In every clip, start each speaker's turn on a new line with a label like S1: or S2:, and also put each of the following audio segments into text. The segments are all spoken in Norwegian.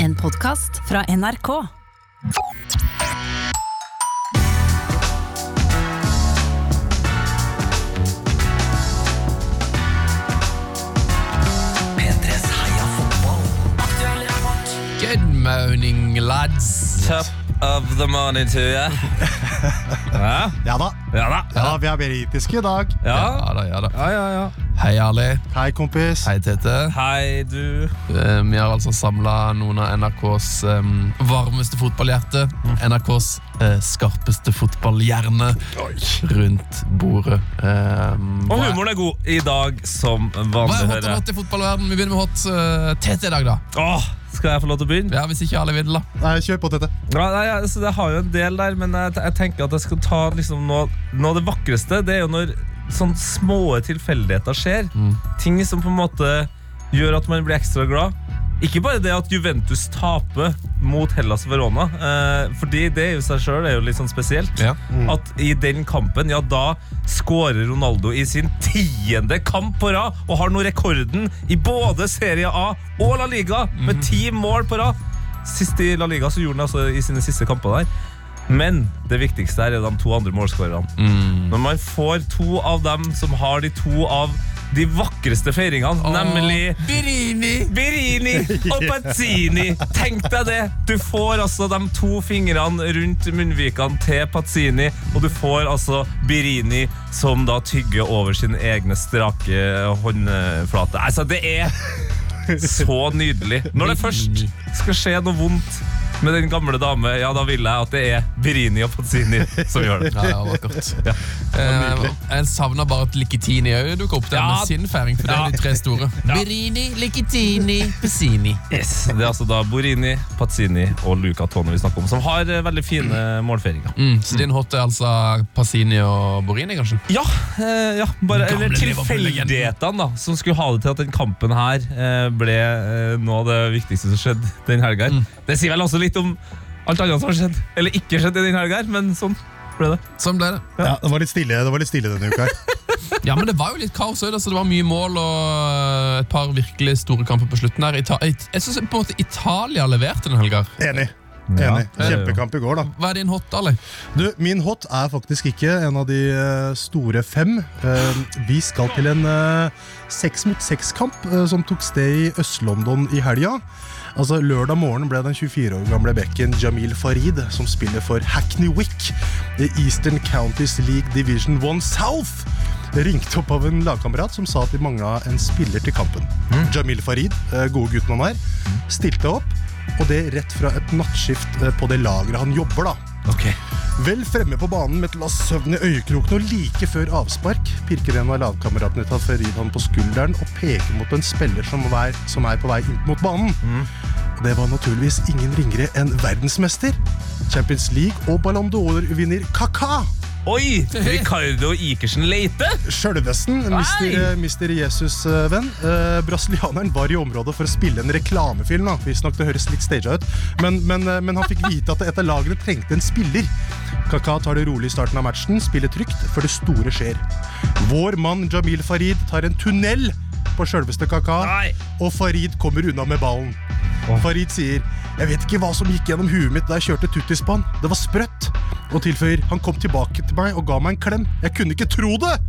S1: En podkast fra NRK.
S2: Good morning, lads.
S3: Top of the morning to you. Ja,
S4: Ja da.
S3: ja da.
S4: Ja, vi er britiske i dag.
S3: Ja.
S2: Ja da, ja da.
S3: Ja, ja, ja.
S2: Hei, Ali.
S4: Hei, kompis.
S2: Hei, Tete.
S3: Hei, du.
S2: Eh, Vi har altså samla noen av NRKs em, varmeste fotballhjerte. NRKs eh, skarpeste fotballhjerne rundt bordet. Em,
S3: Og
S2: hva-
S3: humoren er god i dag, som
S2: Hva er
S3: vanlig,
S2: hot
S3: hører
S2: og
S3: jeg.
S2: hot i fotballverden? Vi begynner med hot eh, Tete i dag, da.
S3: Åh, skal jeg få lov til å begynne?
S2: Ja, Hvis ikke alle vil, da.
S4: Nei, kjør på, Tete.
S3: Ja, nei, altså, det har jo en del der, men jeg, jeg tenker at jeg skal ta liksom, noe, noe av det vakreste. Det er jo når sånne små tilfeldigheter skjer. Ting som på en måte gjør at man blir ekstra glad. Ikke bare det at Juventus taper mot Hellas og Verona, eh, fordi det i seg sjøl er jo litt sånn spesielt.
S2: Ja.
S3: At i den kampen, ja, da skårer Ronaldo i sin tiende kamp på rad og har nå rekorden i både Serie A og La Liga med ti mål på rad. Sist i La Liga så gjorde han altså i sine siste kamper der. Men det viktigste her er de to andre målskårerne. Når man får to av dem som har de to av de vakreste feiringene, nemlig
S2: Birini!
S3: Birini og Pazzini. Tenk deg det! Du får altså de to fingrene rundt munnvikene til Pazzini, og du får altså Birini som da tygger over sin egne strake håndflate. Altså, det er så nydelig. Når det først skal skje noe vondt med den gamle dame, ja, da vil jeg at det er Birini og Pazzini som gjør det.
S2: Ja, ja, vakkert. Eh, jeg savner bare at Likitini òg dukker opp der
S3: Ja.
S2: med sin feiring. For det
S3: Ja.
S2: er de tre store. Birini, Likitini, Pessini.
S3: Yes, Det er altså da Borini, Pazzini og Luca Tone vi snakker om, som har eh, veldig fine målfeiringer.
S2: Mm, så din hot er altså Passini og Borini, kanskje?
S3: Ja, eh, ja bare,
S2: Den gamle
S3: eller
S2: Liverpool-legenden.
S3: tilfeldighetene da, som skulle ha det til at den kampen her eh, ble eh, noe av det viktigste som skjedde den helga. her. Det sier vel også litt om alt annet som har skjedd, eller ikke skjedd i den helga, her, men sånn ble det.
S2: Sånn ble det.
S4: Ja, det var litt stille, det var litt stille denne uka. her.
S2: Ja, men det var jo litt kaos òg, så det var mye mål og eh, et par virkelig store kamper på slutten her. Ita jeg jeg syns på en måte Italia leverte den helga.
S4: Enig.
S3: Ja,
S4: Enig.
S3: det er det jo.
S4: Kjempekamp i går, da.
S2: Hva er din hot, Ali?
S4: Du, Min hot er faktisk ikke en av de eh, store fem. Eh, Vi skal til en eh, seks mot seks-kamp eh, som tok sted i Øst-London i helga. Altså, Lørdag morgen ble den 24 år gamle bekken Jamil Farid, som spiller for Hackney Wick i Eastern Counties League Division 1 South, ringt opp av en lagkamerat som sa at de mangla en spiller til kampen. Jamil Farid, eh, gode gutten han er, stilte opp, og det rett fra et nattskift eh, på det lageret han jobber, da. Vel fremme på banen med et lass søvn i øyekroken og like før avspark pirker en av lagkameratene til Farid han på skulderen og peker mot en spiller som, vei, som er på vei inn mot banen. Og Det var naturligvis ingen ringere enn verdensmester, Champions League og Ballon d'Or-vinner Kaka.
S3: Oi! Ricardo Ikersen Leite!
S4: Sjølvesten, mister, eh, mister Jesus-venn. Eh, brasilianeren var i området for å spille en reklamefilm. da, Visstnok det høres litt staged ut, men, men, eh, men han fikk vite at et av lagene trengte en spiller. Kaka tar det rolig i starten av matchen, spiller trygt før det store skjer. Vår mann Jamil Farid tar en tunnel på sjølveste Kaka,
S3: Nei.
S4: og Farid kommer unna med ballen. Farid sier Jeg vet ikke hva som gikk gjennom huet mitt da jeg kjørte tuttis på han. Det var sprøtt. Og tilføyer Han kom tilbake til meg og ga meg en klem. Jeg kunne ikke tro det!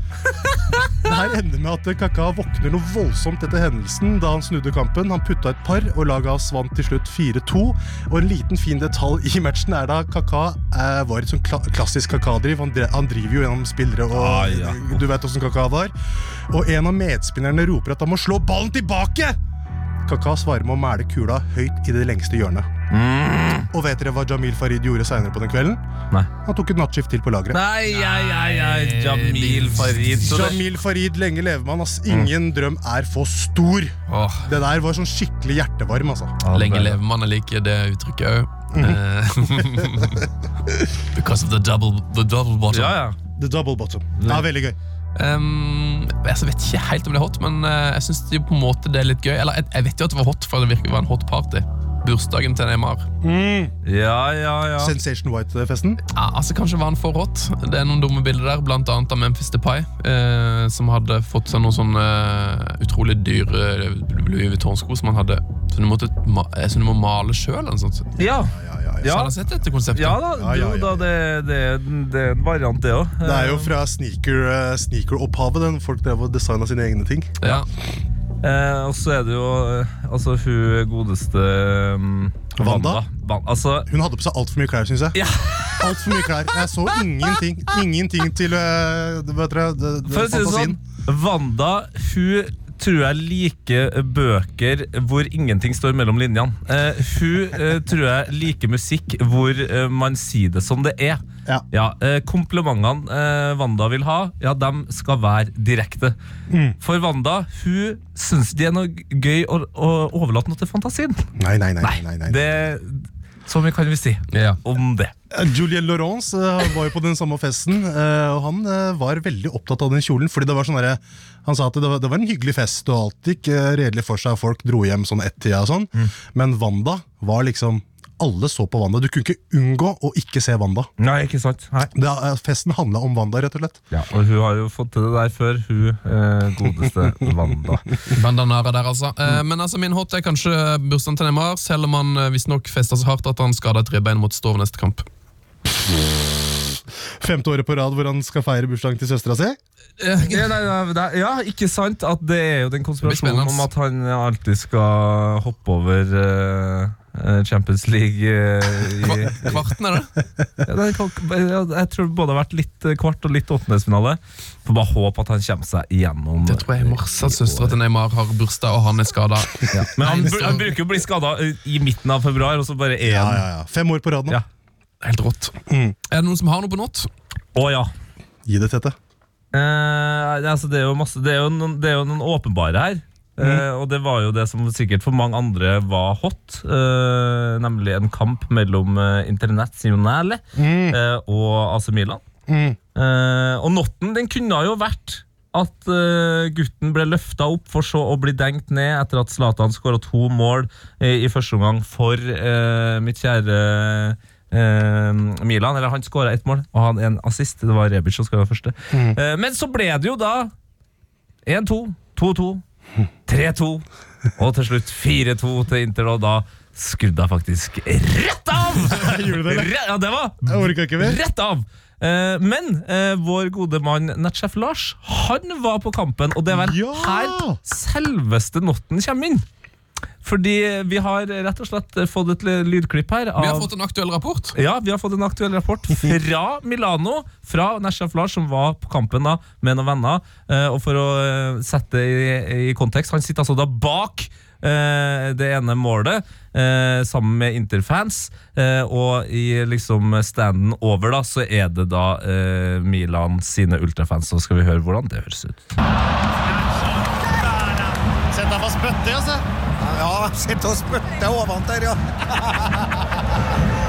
S4: Det her ender med at Kaka våkner noe voldsomt etter hendelsen da han snudde kampen. Han putta et par, og laget hans vant til slutt 4-2. Og en liten fin detalj i matchen er da Kaka eh, var et sånn kla klassisk Kaka-driv. Han, dre- han driver jo gjennom spillere, og
S3: Ah, ja.
S4: du vet åssen Kaka var. Og en av medspillerne roper at han må slå ballen tilbake! Kaka svarer med å mæle kula høyt i det lengste hjørnet.
S3: Mm.
S4: Og vet dere hva Jamil Farid gjorde seinere på den kvelden?
S3: Nei.
S4: Han tok et nattskift til på lageret.
S3: Nei, nei, nei, nei. Jamil Farid. Så det, Mm.
S4: Jamil Farid, lenge levemann. ass. Ingen drøm er for stor.
S2: Åh,
S4: Det der var sånn skikkelig hjertevarm, altså.
S2: lenge leve man jeg liker det Mhm. uttrykket òg. Because of the double, the double bottom.
S3: Ja, ja.
S4: The double bottom. Ja, veldig gøy.
S2: Ehm, jeg vet ikke helt om det er hot, men eh, jeg syns det er på en måte det er litt gøy. Eller jeg, jeg vet jo at det var hot, for det virker å være en hot party. bursdagen til Neymar.
S3: Ja, ja, ja.
S4: Sensation White-festen.
S2: Ja, altså Kanskje var han for rått. Det er noen dumme bilder der, blant annet av Memphis Depay, eh, som hadde fått seg noen sånne eh, utrolig dyre eh, Louis Vuitton-sko som han hadde. Så du, måtte, ma- eh, så du må male sjøl? Ja.
S3: Ja,
S4: Ja, ja, ja.
S3: Ja.
S2: Han har sett dette konseptet.
S3: ja da.
S4: Ja, ja,
S3: Jo
S4: ja,
S3: da,
S4: ja.
S3: det, det, det er en variant, det òg.
S4: Det er jo fra sneaker- eh, sneaker-opphavet. den folk drev og designa sine egne ting.
S2: Ja.
S3: Eh, og så er det jo eh, altså, hun godeste mm,
S4: Wanda?
S3: Van, altså,
S4: Hun hadde på seg altfor mye klær, syns
S3: Ja.
S4: jeg. Alt for mye klær. Jeg så ingenting Ingenting til eh, det- vet dere, det- det-
S3: for å si det sånn,
S4: fantasien.
S3: Wanda hun tror jeg liker bøker hvor ingenting står mellom linjene. Eh, hun eh, tror jeg liker musikk hvor eh, man sier det som det er.
S4: Ja.
S3: eh, Komplimentene eh, Wanda vil ha, ja, dem skal være direkte.
S4: Mm.
S3: For Wanda hun syns det er noe gøy å, å overlate noe til fantasien.
S4: Nei, nei, nei. nei, nei, nei.
S3: Det, så mye kan vi si
S2: Ja.
S3: om det.
S4: Eh, Julien Laurence eh, var jo på den samme festen, eh, og han eh, var veldig opptatt av den kjolen. fordi det var sånn derre- Han sa at det var, det var en hyggelig fest, og alt gikk eh, redelig for seg. og Folk dro hjem sånn ett-tida og sånn. Men Wanda var liksom Alle så på Wanda. Du kunne ikke unngå å ikke se Wanda.
S3: Nei, ikke sant?
S4: Det, eh, festen handla om Wanda, rett og slett.
S3: Og hun har jo fått til det der før, hun eh, godeste Wanda.
S2: Bandanara der, altså. Eh, men altså, min hot er kanskje bursdagen til Neymar, selv om han eh, visstnok festa så hardt at han skada et ribbein mot Stov neste kamp.
S4: Femte året på rad hvor han skal feire bursdagen til søstera si.
S3: Ja, nei, nei, det er- ja, ikke sant? At det er jo den konspirasjonen
S2: spennende.
S3: om at han alltid skal hoppe over eh, eh, Champions League eh, i,
S2: Kva- Kvarten, er det?
S3: ja, den kan, ja, Jeg tror det både har vært litt eh, kvart og litt åttendelsfinale. Får bare håpe at han kommer seg igjennom.
S2: Det tror jeg er mars at søstera til Neymar har bursdag, og han er skada.
S3: Ja. Men han, br- han bruker jo å bli skada i midten av februar, og så bare én.
S4: Ja, ja, ja. Fem år på rad nå.
S3: Ja.
S2: Helt rått. Er det noen som har noe på not?
S3: Å ja.
S4: Gi det, Tete.
S3: Eh, altså det, er jo masse, det, er jo noen, det er jo noen åpenbare her. Eh, og det var jo det som sikkert for mange andre var hot. eh, nemlig en kamp mellom uh, Internazionale eh, og AC Milan. Eh, og notten den kunne jo vært at eh, gutten ble løfta opp for så å bli denkt ned etter at Zlatan skåra to mål eh, i første omgang for eh, mitt kjære eh, Milan. Eller han skåra ett mål, og han en assist. Det var Rebic som skåra første.
S4: Mm.
S3: Eh, men så ble det jo da 1-2, 2-2, 3-2 og til slutt 4-2 til Inter, og da skrudde jeg faktisk rett av!
S4: Gjorde du det?
S3: Rett, ja, det var
S4: Jeg orka ikke mer.
S3: Rett av! Eh, men eh, vår gode mann nettsjef Lars Han var på kampen, og det er vel
S4: Ja!
S3: her selveste notten kommer inn. Fordi vi har rett og slett fått et l- lydklipp her. Av,
S2: Vi har fått en aktuell rapport.
S3: ja, vi har fått en aktuell rapport fra Milano. Fra nettsjef Lars, som var på kampen da med noen venner. Eh, og for å eh, sette det i, i kontekst, han sitter altså da bak eh, det ene målet eh, sammen med Interfans. Eh, og i liksom standen over da, så er det da eh, Milan sine ultrafans. Så skal vi høre hvordan det høres ut.
S5: Sett deg fast bøtte, altså. Ja, sett oss bøtte ovant der, ja.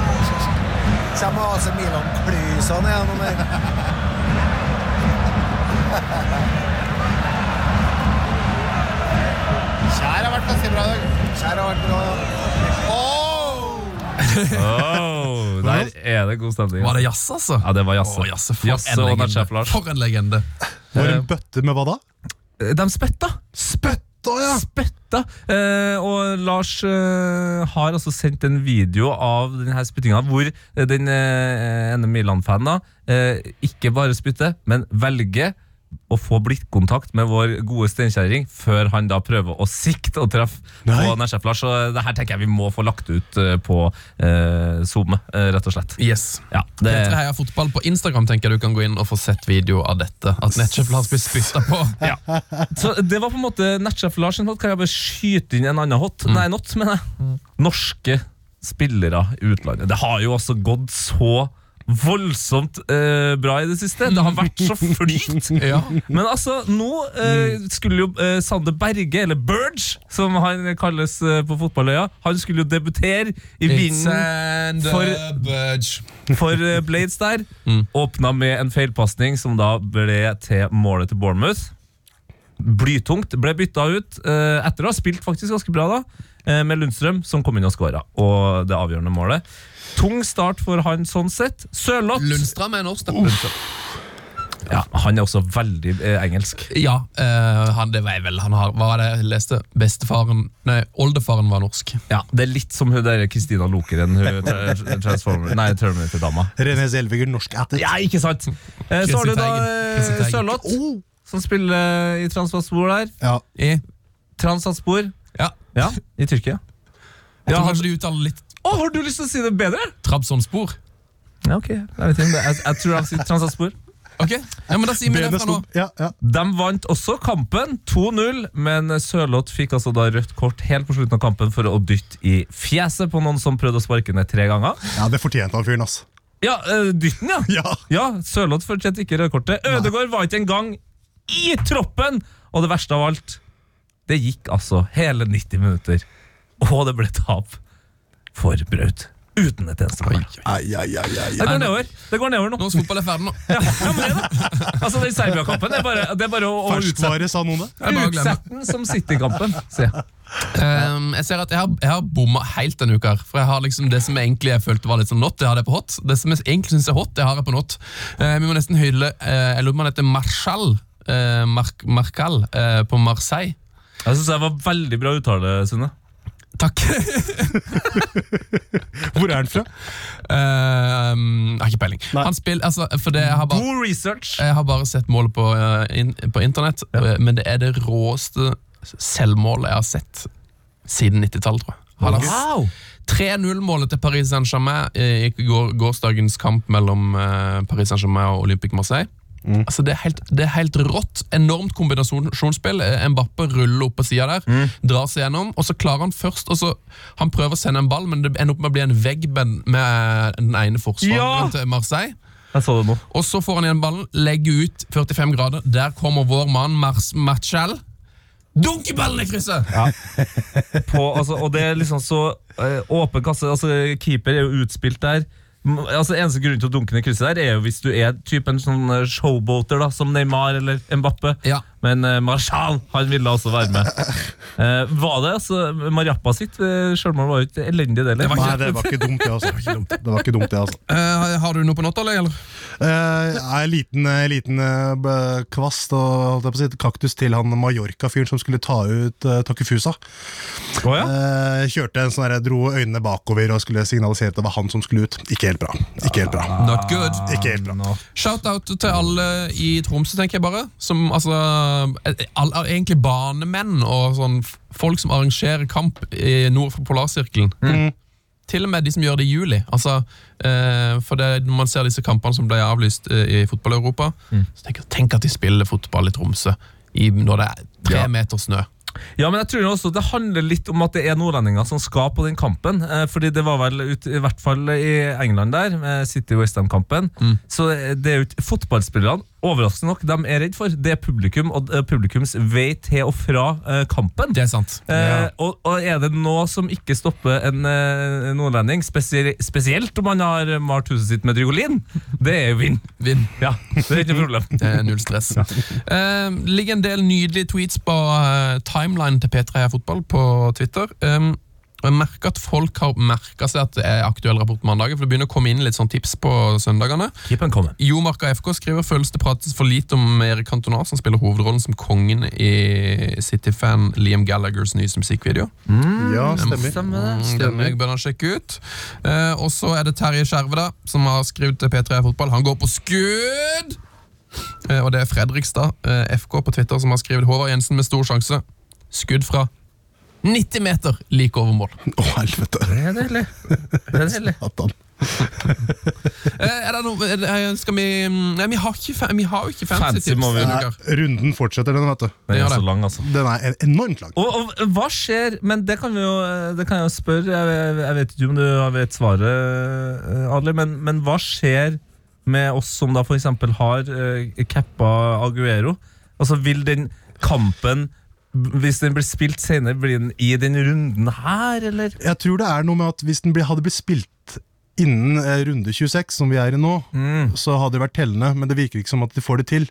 S5: Kjem og AC Milan klysene gjennom her. Kjær har vært ganske bra i dag. Kjær har vært bra.
S3: Oh, der er det god stemning.
S2: Var
S3: altså.
S2: det jazz, altså?
S3: Ja, det var Jasse.
S2: Å, Jasse, for,
S3: Jasse
S2: en
S3: og
S2: legende.
S3: Natchef Lars.
S2: for en legende.
S4: Var en bøtte med hva da?
S3: De spytta!
S4: Spytta, ja!
S3: Spytta! Eh, og Lars eh, har altså sendt en video av denne spyttinga hvor eh, den eh, ene Milan-fanen da, eh, ikke bare spytter, men velger å få blikkontakt med vår gode steinkjerring før han da prøver å sikte og treffe
S4: Nei.
S3: på Nesjef Lars. Så det her tenker jeg vi må få lagt ut eh, på eh, SoMe, eh, rett og slett.
S2: Yes.
S3: Ja, det,
S2: Petre Heia Fotball på Instagram tenker jeg du kan gå inn og få sett video av dette. At Netchef Lars blir spytta på.
S3: så det var på en måte Netchef Lars sin hot. Kan jeg bare skyte inn en annen hot? Nei, not, mener jeg. Norske spillere i utlandet. Det har jo altså gått så voldsomt eh, bra i det siste. Det har vært så flyt.
S2: Ja.
S3: Men altså, nå eh, skulle jo eh, Sander Berge, eller Burge, som han kalles eh, på fotballøya, han skulle jo debutere i vinden for-
S2: budge.
S3: for eh, Blades der. Åpna med en feilpasning som da ble til målet til Bournemouth. Blytungt. Ble bytta ut eh, etter å ha spilt faktisk ganske bra, da. eh, med Lundstrøm, som kom inn og skåra. Og det avgjørende målet. Tung start for han sånn sett. Sørloth
S2: Lundstrøm er norsk. da.
S3: ja, Han er også veldig eh, engelsk.
S2: Ja, eh, han, det var jeg vel han har. Hva var det jeg leste? Bestefaren Nei, oldefaren var norsk.
S3: Ja, Det er litt som hun der Kristina Lokeren, hun tra- Transformer- nei, Terminator-dama.
S4: René Selvigger, norsk attet.
S3: Ja, ikke sant? Eh, så har du da
S2: Kristin
S3: eh,
S2: Teigen.
S3: Sørloth, som spiller eh, i Transplanspor der.
S4: Ja.
S2: I.
S3: Transplanspor,
S2: Ja.
S3: ja, i Tyrkia.
S2: Jeg
S3: Ja,
S2: tror
S3: han-
S2: kanskje de uttaler litt
S3: Å, har du lyst til å si det bedre?
S2: Trabzonspor.
S3: Ja, ok. Jeg, vet ikke, om det- jeg, jeg tror jeg sier Transplanspor.
S2: Ok, ja, men da sier vi det
S4: Benet
S2: fra nå.
S4: sto ja, ja.
S3: De vant også kampen 2-0, men Sørloth fikk altså da rødt kort helt på slutten av kampen for å dytte i fjeset på noen som prøvde å sparke ned tre ganger.
S4: ja, det fortjente han fyren, ass.
S3: Ja, eh, dytten, ja.
S4: Ja.
S3: Ja, Sørloth fortjente ikke rødkortet. Ødegaard var ikke engang i troppen! Og det verste av alt, det gikk altså hele 90 minutter, og det ble tap for Braut. Uten et eneste poeng.
S4: Ai, ai, ai, ai.
S3: Det går nedover Det går nedover nå.
S2: Norsk fotball er ferdig nå.
S3: Ja, ja, men det er det. Altså, Den Serbia-kampen det er bare, det er bare å, å utsette,
S4: Ferskvare, sa noen det.
S2: er bare å glemme.
S3: utsette den som City-kampen. sier jeg.
S2: Ehm, jeg ser at jeg har, jeg har bomma helt denne uka. her For jeg har liksom Det som egentlig jeg følte var litt sånn not, det hadde jeg på hot. Det som jeg egentlig synes er hot, det har jeg på not. Eh, vi må nesten hylle eh, Jeg lurer på om han heter Marshall. eh, Marc- Marcal eh, på Marseille.
S3: Jeg syns jeg var veldig bra uttale, Sunne.
S2: Takk.
S4: Hvor er han fra?
S2: Ehm, jeg har ikke peiling.
S4: Nei.
S2: Han spiller altså, For det jeg har bare,
S3: God research.
S2: jeg har bare sett målet på, eh, in, på internett, eh, men det er det råeste selvmålet jeg har sett siden 90-tallet, tror jeg. Han har 3-0-målet til Paris Saint-Germain eh, i går, gårsdagens kamp mellom eh, Paris Saint-Germain og Olympique Marseille. Altså det, er helt, det er helt rått. Enormt kombinasjonsspill. Eh, Mbappe ruller opp på sida der, drar seg gjennom, og så klarer han først og så, Han prøver å sende en ball, men det ender opp med å bli en vegg med med den ene
S3: Ja!
S2: forsvareren til Marseille.
S3: Jeg så det nå.
S2: Og så får han igjen ballen, legger ut 45 grader. Der kommer vår mann Mars Matchell. Dunker ballen i krysset!
S3: på altså, Og det er liksom så eh, åpen kasse. Altså, keeper er jo utspilt der. M- Altså, Eneste grunn til å dunke ned krysset der, er jo hvis du er typen sånn eh, showboater da, som Neymar eller Mbappe.
S2: Ja.
S3: Men eh, Marshall han ville altså være med. Eh, var det altså Mariappa sitt eh, selvmål var jo ikke elendig, eh? det heller.
S4: Nei, det var ikke dumt, det, altså. Det var ikke dumt, det, altså.
S2: Eh, har du noe på notta, eller?
S4: Eh, Jeg er en liten, eh, liten eh, b- kvast og holdt jeg på å si, kaktus til han Mallorca-fyren som skulle ta ut uh, Takifusa.
S3: Å, ja.
S4: Eh, kjørte en sånn der, dro øynene bakover og skulle signalisere at det var han som skulle ut. Ikke helt bra. Ikke helt bra.
S2: Not good.
S4: Ikke helt bra.
S2: Shout-out til alle i Tromsø, tenker jeg bare. Som altså all, all, Egentlig banemenn og sånn f- folk som arrangerer kamp i nord for Polarsirkelen. Til og med de som gjør det i juli. Altså, eh, for det, Når man ser disse kampene som ble avlyst eh, i fotball-Europa, så tenker jeg tenk at de spiller fotball i Tromsø i, når det er tre
S3: Ja.
S2: meter snø.
S3: Ja, men jeg tror også det handler litt om at det er nordlendinger som skal på den kampen. Eh, fordi det var vel ut, i hvert fall i England der, med City-Westham-kampen. Så det er jo ikke fotballspillerne, overraskende nok, de er redd for. Det er publikum og eh, publikums vei til og fra eh, kampen.
S2: Det er sant.
S3: Eh, og, og er det noe som ikke stopper en eh, nordlending, spesie spesielt om han har malt huset sitt med Drygolin, det er jo vind.
S2: Vinn.
S3: Ja, det er ikke noe problem.
S2: Det er null stress. Eh, Det ligger en del nydelige tweets på eh, timeline til P3 Fotball på Twitter. Um, og jeg merker at folk har merka seg at det er aktuell rapport mandager. For det begynner å komme inn litt sånn tips på søndagene.
S3: Keep on coming.
S2: Jo Marka FK skriver føles det prates for lite om Erik Cantona, som spiller hovedrollen som kongen i City-fan Liam Gallaghers nyeste musikkvideo.
S4: Ja, stemmer.
S3: Mm, Stemmer det.
S2: Mm, Den bør han sjekke ut. Eh, og så er det Terje Skjerve, da, som har skrevet til P3 Fotball. Han går på skudd! Eh, og det er Fredrikstad, eh, FK på Twitter, som har skrevet Håvard Jensen med stor sjanse. Skudd fra 90 meter like over mål.
S4: Å, helvete.
S3: Det er deilig. Det er deilig.
S4: Satan.
S2: Eh, er det noe er det, eh, Skal vi Nei, vi har, ikke, fa- vi har jo ikke fancy,
S3: Fancy
S2: tips. eh,
S3: må vi-
S2: denne
S4: Nei,
S2: uka.
S4: Eh, runden fortsetter, den, vet du.
S3: Den
S2: Ja,
S3: er så
S2: det.
S3: lang, altså.
S4: Den er en- enormt lang.
S3: Og, og hva skjer Men det kan, vi jo, eh, det kan jeg jo spørre. Jeg, jeg, jeg vet ikke om du vet svaret, eh, Adli, men, men hva skjer med oss som da f.eks. har eh, cappa Aguero? Altså, vil den kampen b- hvis den blir spilt senere, blir den i den runden her, eller?
S4: Jeg tror det er noe med at hvis den blir- hadde blitt spilt innen eh, runde 26, som vi er i nå,
S3: Mm.
S4: så hadde det vært tellende. Men det virker ikke som at de får det til.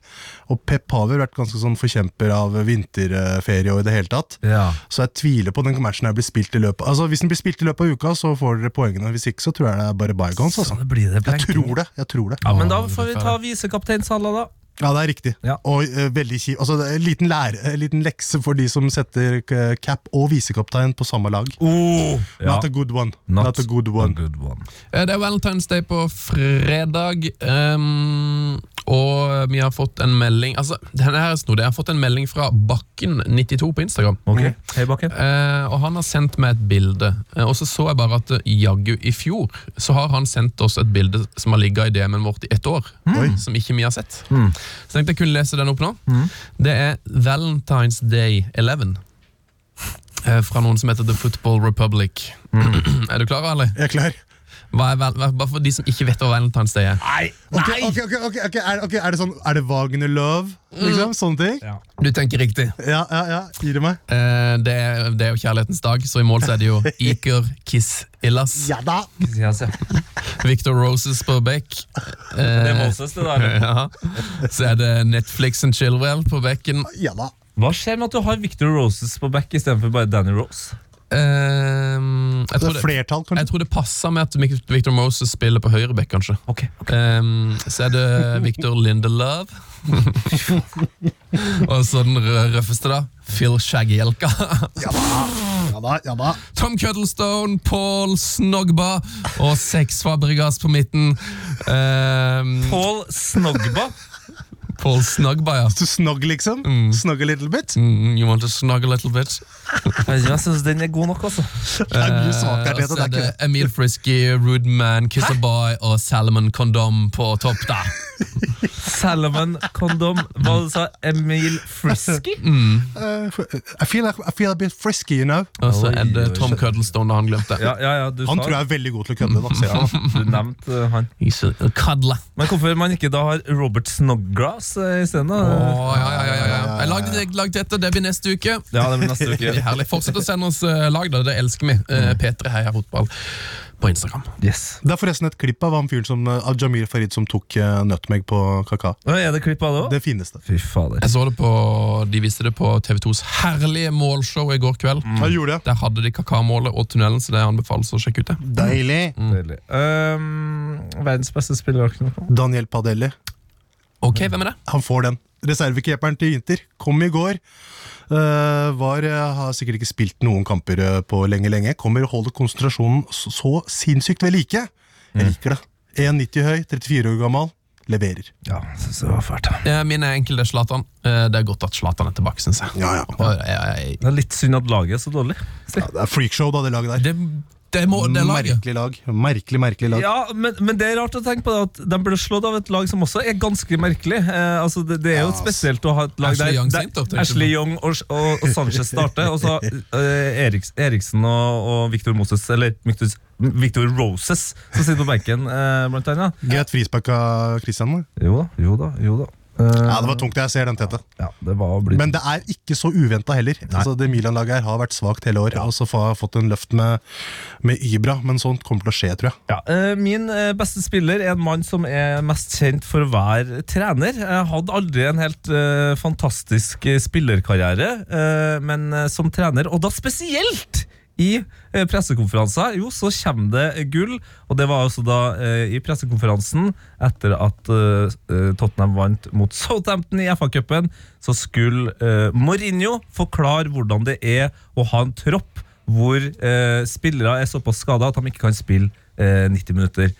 S4: Og Pep har vel vært ganske sånn forkjemper av eh, vinterferie og i det hele tatt.
S3: Ja.
S4: Så jeg tviler på den matchen her blir spilt i løpet Altså Hvis den blir spilt i løpet av uka, så får dere poengene. Hvis ikke, så tror jeg det er bare bygones. Altså.
S3: det blir det
S4: Jeg tror det. jeg tror det
S3: Ja, men da får vi ta visekaptein Salah, da.
S4: Ja, det er riktig.
S3: Ja.
S4: Og eh, veldig kjip. Altså, det er en liten, lære, en liten lekse for de som setter eh, cap og visekaptein på samme lag.
S3: Ja.
S4: Oh, Not a good one.
S3: Not
S4: Not, a good one.
S3: Good one.
S2: Eh, Det er Valentine's Day på fredag, ehm, og vi har fått en melding Altså, denne her er snodig. Jeg har fått en melding fra Bakken92 på Instagram.
S3: Ok, hei Bakken.
S2: Eh, og han har sendt meg et bilde. Eh, og så så jeg bare at eh, jaggu i fjor så har han sendt oss et bilde som har ligget i DM-en vårt i ett år.
S4: Oi.
S2: Som ikke vi har sett. Så tenkte jeg kunne lese den opp nå. Det er Valentine's Day 11. eh, Fra noen som heter The Football Republic. er du klar, Ali?
S4: Jeg er klar.
S2: Hva er val hva- bare for de som ikke vet hva Valentine's Day er.
S3: Nei!
S4: Ok, ok, ok, ok, ok, er, ok, er det sånn Er det Wagner Love? Liksom, Sånne ting?
S3: Ja.
S2: Du tenker riktig.
S4: Ja, ja, ja. Gir det meg?
S2: Eh, det, er, det er jo kjærlighetens dag, så i mål så er det jo Iker Kiss Illas.
S4: Ja da!
S2: Victor Roses på Beck.
S3: Det er
S2: Eh,
S3: Moses, det der.
S2: ja. Så er det Netflix and Chillwell på bekken.
S4: Ja da.
S3: Hva skjer med at du har Victor Roses på back istedenfor bare Danny Rose?
S2: Ehm, jeg,
S4: Det
S2: tror
S4: er
S2: det,
S4: flertall,
S2: jeg
S4: kanskje?
S2: tror det passer med at Mik- Victor Moses spiller på høyre bekk, kanskje.
S3: Ok,
S2: Ehm, så er det Victor Lindelove. Og så den rø- røffeste, da. Phil Shaggyelka.
S4: Ja da, ja da.
S2: Tom Cuddlestone, Paul Snogba og Sex Fabregas på midten. Ehm,
S3: Paul Snogba.
S2: Paul Snogba, ja.
S4: Du snogg, liksom? Snogg a little bit?
S2: Mm, you want to snuggle a little bit?
S3: Jeg syns den er god nok, altså.
S4: Det er mye
S2: Eh,
S4: svakere,
S2: og
S4: det.
S2: så
S4: Det er ikke det.
S2: Emil Frisky, Rudman, Kissaboy og Salomon Kondom på topp da.
S3: Salomon Kondom. Hva du sa Emil Frisky?
S4: Eh, I feel, like, I feel a bit frisky, you know.
S2: Og så er
S3: Oi, oi,
S2: det Tom Cuddlestone, og han glemte.
S3: Ja, ja, ja, du
S4: Han
S3: sa
S4: tror jeg er veldig god til å kødde. Da, ser jeg.
S3: Du nevnte eh, han.
S2: He's a a cuddler.
S3: Men hvorfor man ikke da har Robert Snodgrass eh, isteden?
S2: Å,
S3: da?
S2: ja, ja, ja, ja, ja. Jeg lagde det, lagde dette, det blir neste uke.
S3: Ja, Mm. det blir neste
S2: Det
S3: uke.
S2: er herlig. Fortsett å sende oss eh, lag, da. Det elsker vi. Eh, P3 Heia Fotball på Instagram.
S3: Yes.
S4: Det er forresten et klipp av han fyren som, eh, av Jamir Farid som tok uh, nutmeg på kaka.
S3: Å, Er det klipp av det òg?
S4: Det fineste.
S3: Fy fader.
S2: Jeg så det på, De viste det på TV2s herlige målshow i går kveld.
S3: Mm.
S4: Jeg gjorde det.
S2: Der hadde de kakamålet og tunnelen, så det anbefales å sjekke ut. det.
S4: Deilig.
S3: Deilig. Um, verdens beste spiller.
S4: Daniel Padelli.
S2: Ok,
S3: Mm.
S2: hvem er det?
S4: Han får den. Reservekeperen til Inter kom i går. Eh, var, eh, har sikkert ikke spilt noen kamper eh, på lenge, lenge. Kommer og holder konsentrasjonen så, så sinnssykt ved like.
S2: Mm.
S4: Jeg liker det. 1,90 høy, 34 år gammel. Leverer.
S3: Ja, syns det var fælt.
S2: Eh, Min er enkel, det er Zlatan. Eh, Det er godt at Zlatan er tilbake, syns jeg.
S4: Ja, ja.
S2: Og jeg- jeg-
S3: Det er litt synd at laget er så dårlig.
S4: ja det er freakshow, da, det laget der.
S2: Det, det må det laget.
S4: Merkelig lag. Merkelig, merkelig lag.
S3: Ja, men, men det er rart å tenke på det, at de ble slått av et lag som også er ganske merkelig. Eh, altså det, det er jo
S4: Ja,
S3: spesielt å ha et lag
S2: Ashley
S3: der,
S2: Young
S3: der
S2: sent, da, tenkte
S3: Ashley
S2: du.
S3: Young og, og, og Sanchez starter, og så eh, Eriks, Eriksen og, og Victor Moses, eller Victor, Victor Roses, som sitter på benken, eh, blant annet.
S4: Greit frispark av Christian. da.
S3: Jo da, jo da, jo da. Eh,
S4: Ja, det var tungt. Jeg ser den tette.
S3: ja, det var å bli
S4: Men det er ikke så uventa heller. Altså, det Milan-laget her har vært svakt hele år, og så har jeg fått en løft med, med Ibra. Men sånt kommer til å skje, tror jeg.
S3: Ja, eh, Min eh, beste spiller er en mann som er mest kjent for å være trener. Jeg hadde aldri en helt eh, fantastisk eh, spillerkarriere, eh, men eh, som trener, og da spesielt i eh, pressekonferanser, jo, så kommer det gull. Og det var altså da eh, i pressekonferansen etter at eh, eh, Tottenham vant mot Southampton i FA-cupen, så skulle eh, Mourinho forklare hvordan det er å ha en tropp hvor eh, spillere er såpass skada at de ikke kan spille eh, 90 minutter.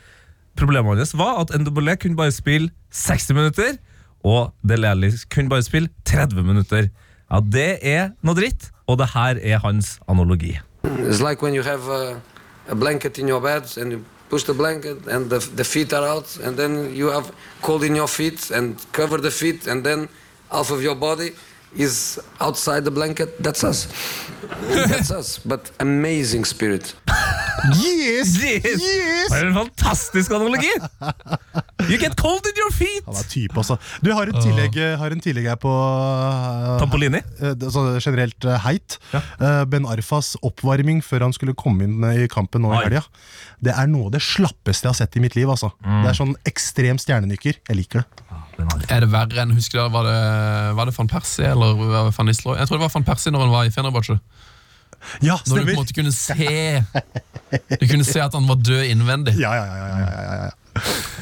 S3: Problemet hans var at Ndobolé kunne bare spille 60 minutter, og Dele Alli kunne bare spille 30 minutter. Ja, Det er noe dritt, og det her er hans analogi.
S6: It's like when you have a, a blanket in your bed and you push the blanket and the, the feet are out and then you have cold in your feet and cover the feet and then half of your body is outside the blanket. That's us. That's us. But amazing spirit.
S4: Yes!
S3: Yes! Det er en fantastisk analogi! You get cold in your feet!
S4: Han er type, altså. Du, jeg har en tillegg, jeg har en tillegg her på eh,
S3: Tampolini?
S4: eh, det- altså generelt eh, heit. Eh, ben Arfas oppvarming før han skulle komme inn eh, i kampen nå i
S3: Oi.
S4: helga. Det er noe av det slappeste jeg har sett i mitt liv. altså. Det er sånn ekstrem stjernenykker. Jeg liker det.
S2: Er det verre enn husker dere, var det, var det van Persie eller var det van Nistelrooy? Jeg tror det var van Persie når han var i Fenerbahçe.
S4: Ja,
S2: Når du på
S4: stemmer!
S2: en måte kunne se Du kunne se at han var død innvendig.
S4: Ja, ja, ja, ja, ja, ja, ja, ja.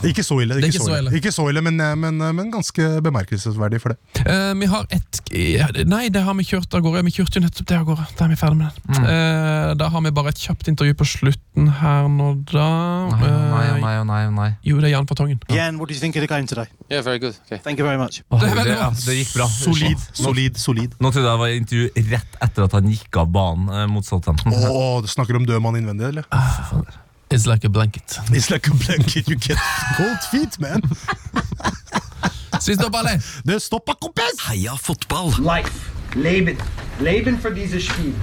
S4: Ikke så ille,
S2: Det er
S4: ikke så ille. Ikke så ille men, eh, men, eh, men ganske bemerkelsesverdig for det.
S2: Eh, vi har et ja, det- Nei, det har vi kjørt av gårde. Vi kjørte jo nettopp det av gårde. Da er vi ferdig med den.
S4: Mm.
S2: Eh, da har vi bare et kjapt intervju på slutten her nå, da.
S7: Nei, oh, nei, oh,
S2: Eh,
S7: nei, oh, nei, oh, nei.
S2: Jo, det er Jan Fartongen.
S8: Jan, what do you think of the game today?
S9: Yeah, very good. Okay.
S8: Thank you very much.
S3: Åh,
S2: Det er veldig
S3: det,
S2: bra.
S3: ja, det gikk bra.
S4: Solid, solid, solid.
S3: Nå trodde jeg det var intervju rett etter at han gikk av banen eh, mot Southampton.
S4: Åh, du snakker om død mann innvendig, eller?
S2: It's like a blanket.
S4: It's like a blanket you get cold feet, man!
S2: Sist opp, alle!
S4: Det stoppa, kompis!
S10: Life. Leben. Leben für dieses Spiel.